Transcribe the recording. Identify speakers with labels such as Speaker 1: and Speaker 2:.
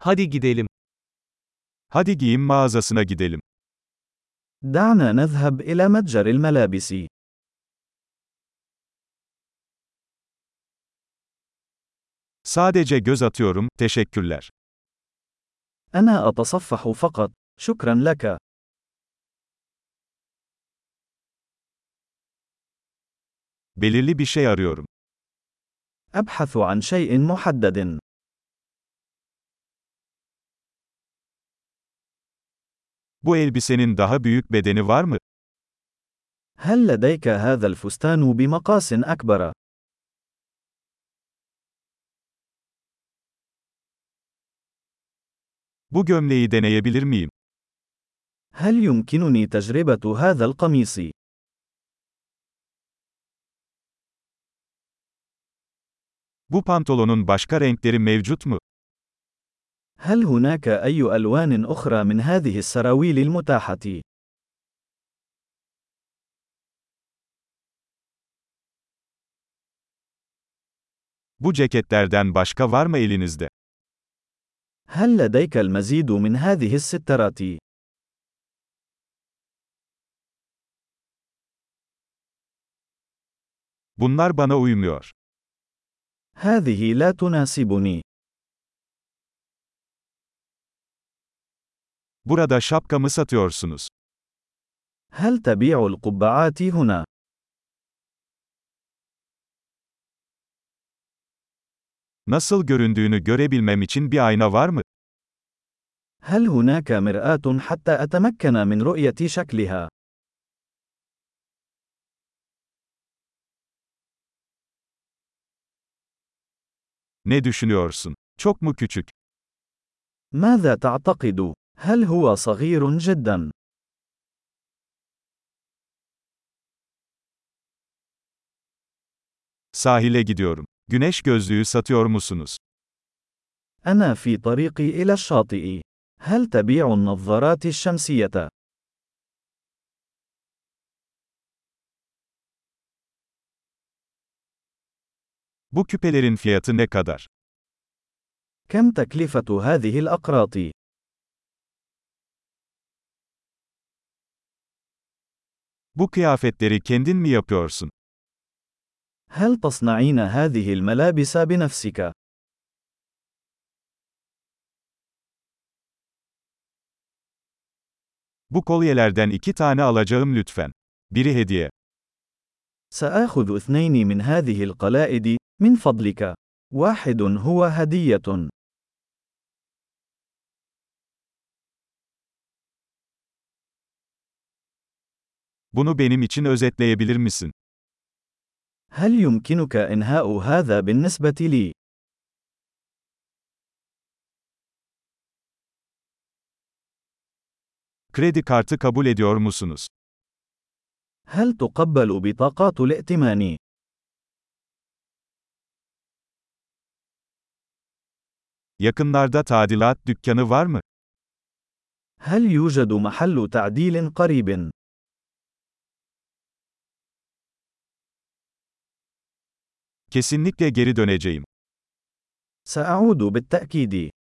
Speaker 1: Hadi gidelim.
Speaker 2: Hadi giyim mağazasına gidelim.
Speaker 3: دعنا نذهب إلى متجر الملابس.
Speaker 2: Sadece göz atıyorum, teşekkürler.
Speaker 3: أنا أتصفح فقط. شكرا لك.
Speaker 2: Belirli bir şey arıyorum.
Speaker 3: أبحث عن شيء محدد.
Speaker 2: Bu elbisenin daha büyük bedeni var mı?
Speaker 3: هل لديك هذا الفستان بمقاس أكبر؟
Speaker 2: Bu gömleği deneyebilir miyim?
Speaker 3: هل يمكنني تجربة هذا القميص؟
Speaker 2: Bu pantolonun başka renkleri mevcut mu?
Speaker 3: هل هناك أي ألوان أخرى من هذه السراويل المتاحة؟
Speaker 2: Bu ceketlerden başka var mı elinizde?
Speaker 3: هل لديك المزيد من هذه السترات؟
Speaker 2: Bunlar bana uymuyor.
Speaker 3: هذه لا تناسبني.
Speaker 2: Burada şapkamı satıyorsunuz.
Speaker 3: هل تبيع القبعات هنا؟
Speaker 2: Nasıl göründüğünü görebilmem için bir ayna var mı?
Speaker 3: هل هناك مرآة حتى أتمكن من رؤية شكلها؟
Speaker 2: Ne düşünüyorsun? Çok mu küçük?
Speaker 3: ماذا تعتقد؟ هل هو صغير جدا؟
Speaker 2: Sahile gidiyorum. Güneş gözlüğü satıyor musunuz?
Speaker 3: أنا في طريقي إلى الشاطئ. هل تبيع النظارات الشمسية؟
Speaker 2: Bu küpelerin fiyatı ne kadar?
Speaker 3: كم تكلفة هذه الأقراط؟
Speaker 2: Bu kıyafetleri kendin mi yapıyorsun?
Speaker 3: هل تصنعين هذه الملابس بنفسك؟
Speaker 2: Bu kolyelerden iki tane alacağım lütfen. Biri hediye.
Speaker 3: سآخذ اثنين من هذه القلائد، من فضلك. واحد هو هدية.
Speaker 2: Bunu benim için özetleyebilir misin?
Speaker 3: هل يمكنك إنهاء هذا بالنسبة لي؟
Speaker 2: Kredi kartı kabul ediyor musunuz?
Speaker 3: هل تقبل بطاقات الائتمان؟
Speaker 2: Yakınlarda tadilat dükkanı var mı?
Speaker 3: هل يوجد محل تعديل قريب؟
Speaker 2: Kesinlikle geri döneceğim.
Speaker 3: سأعود بالتأكيد.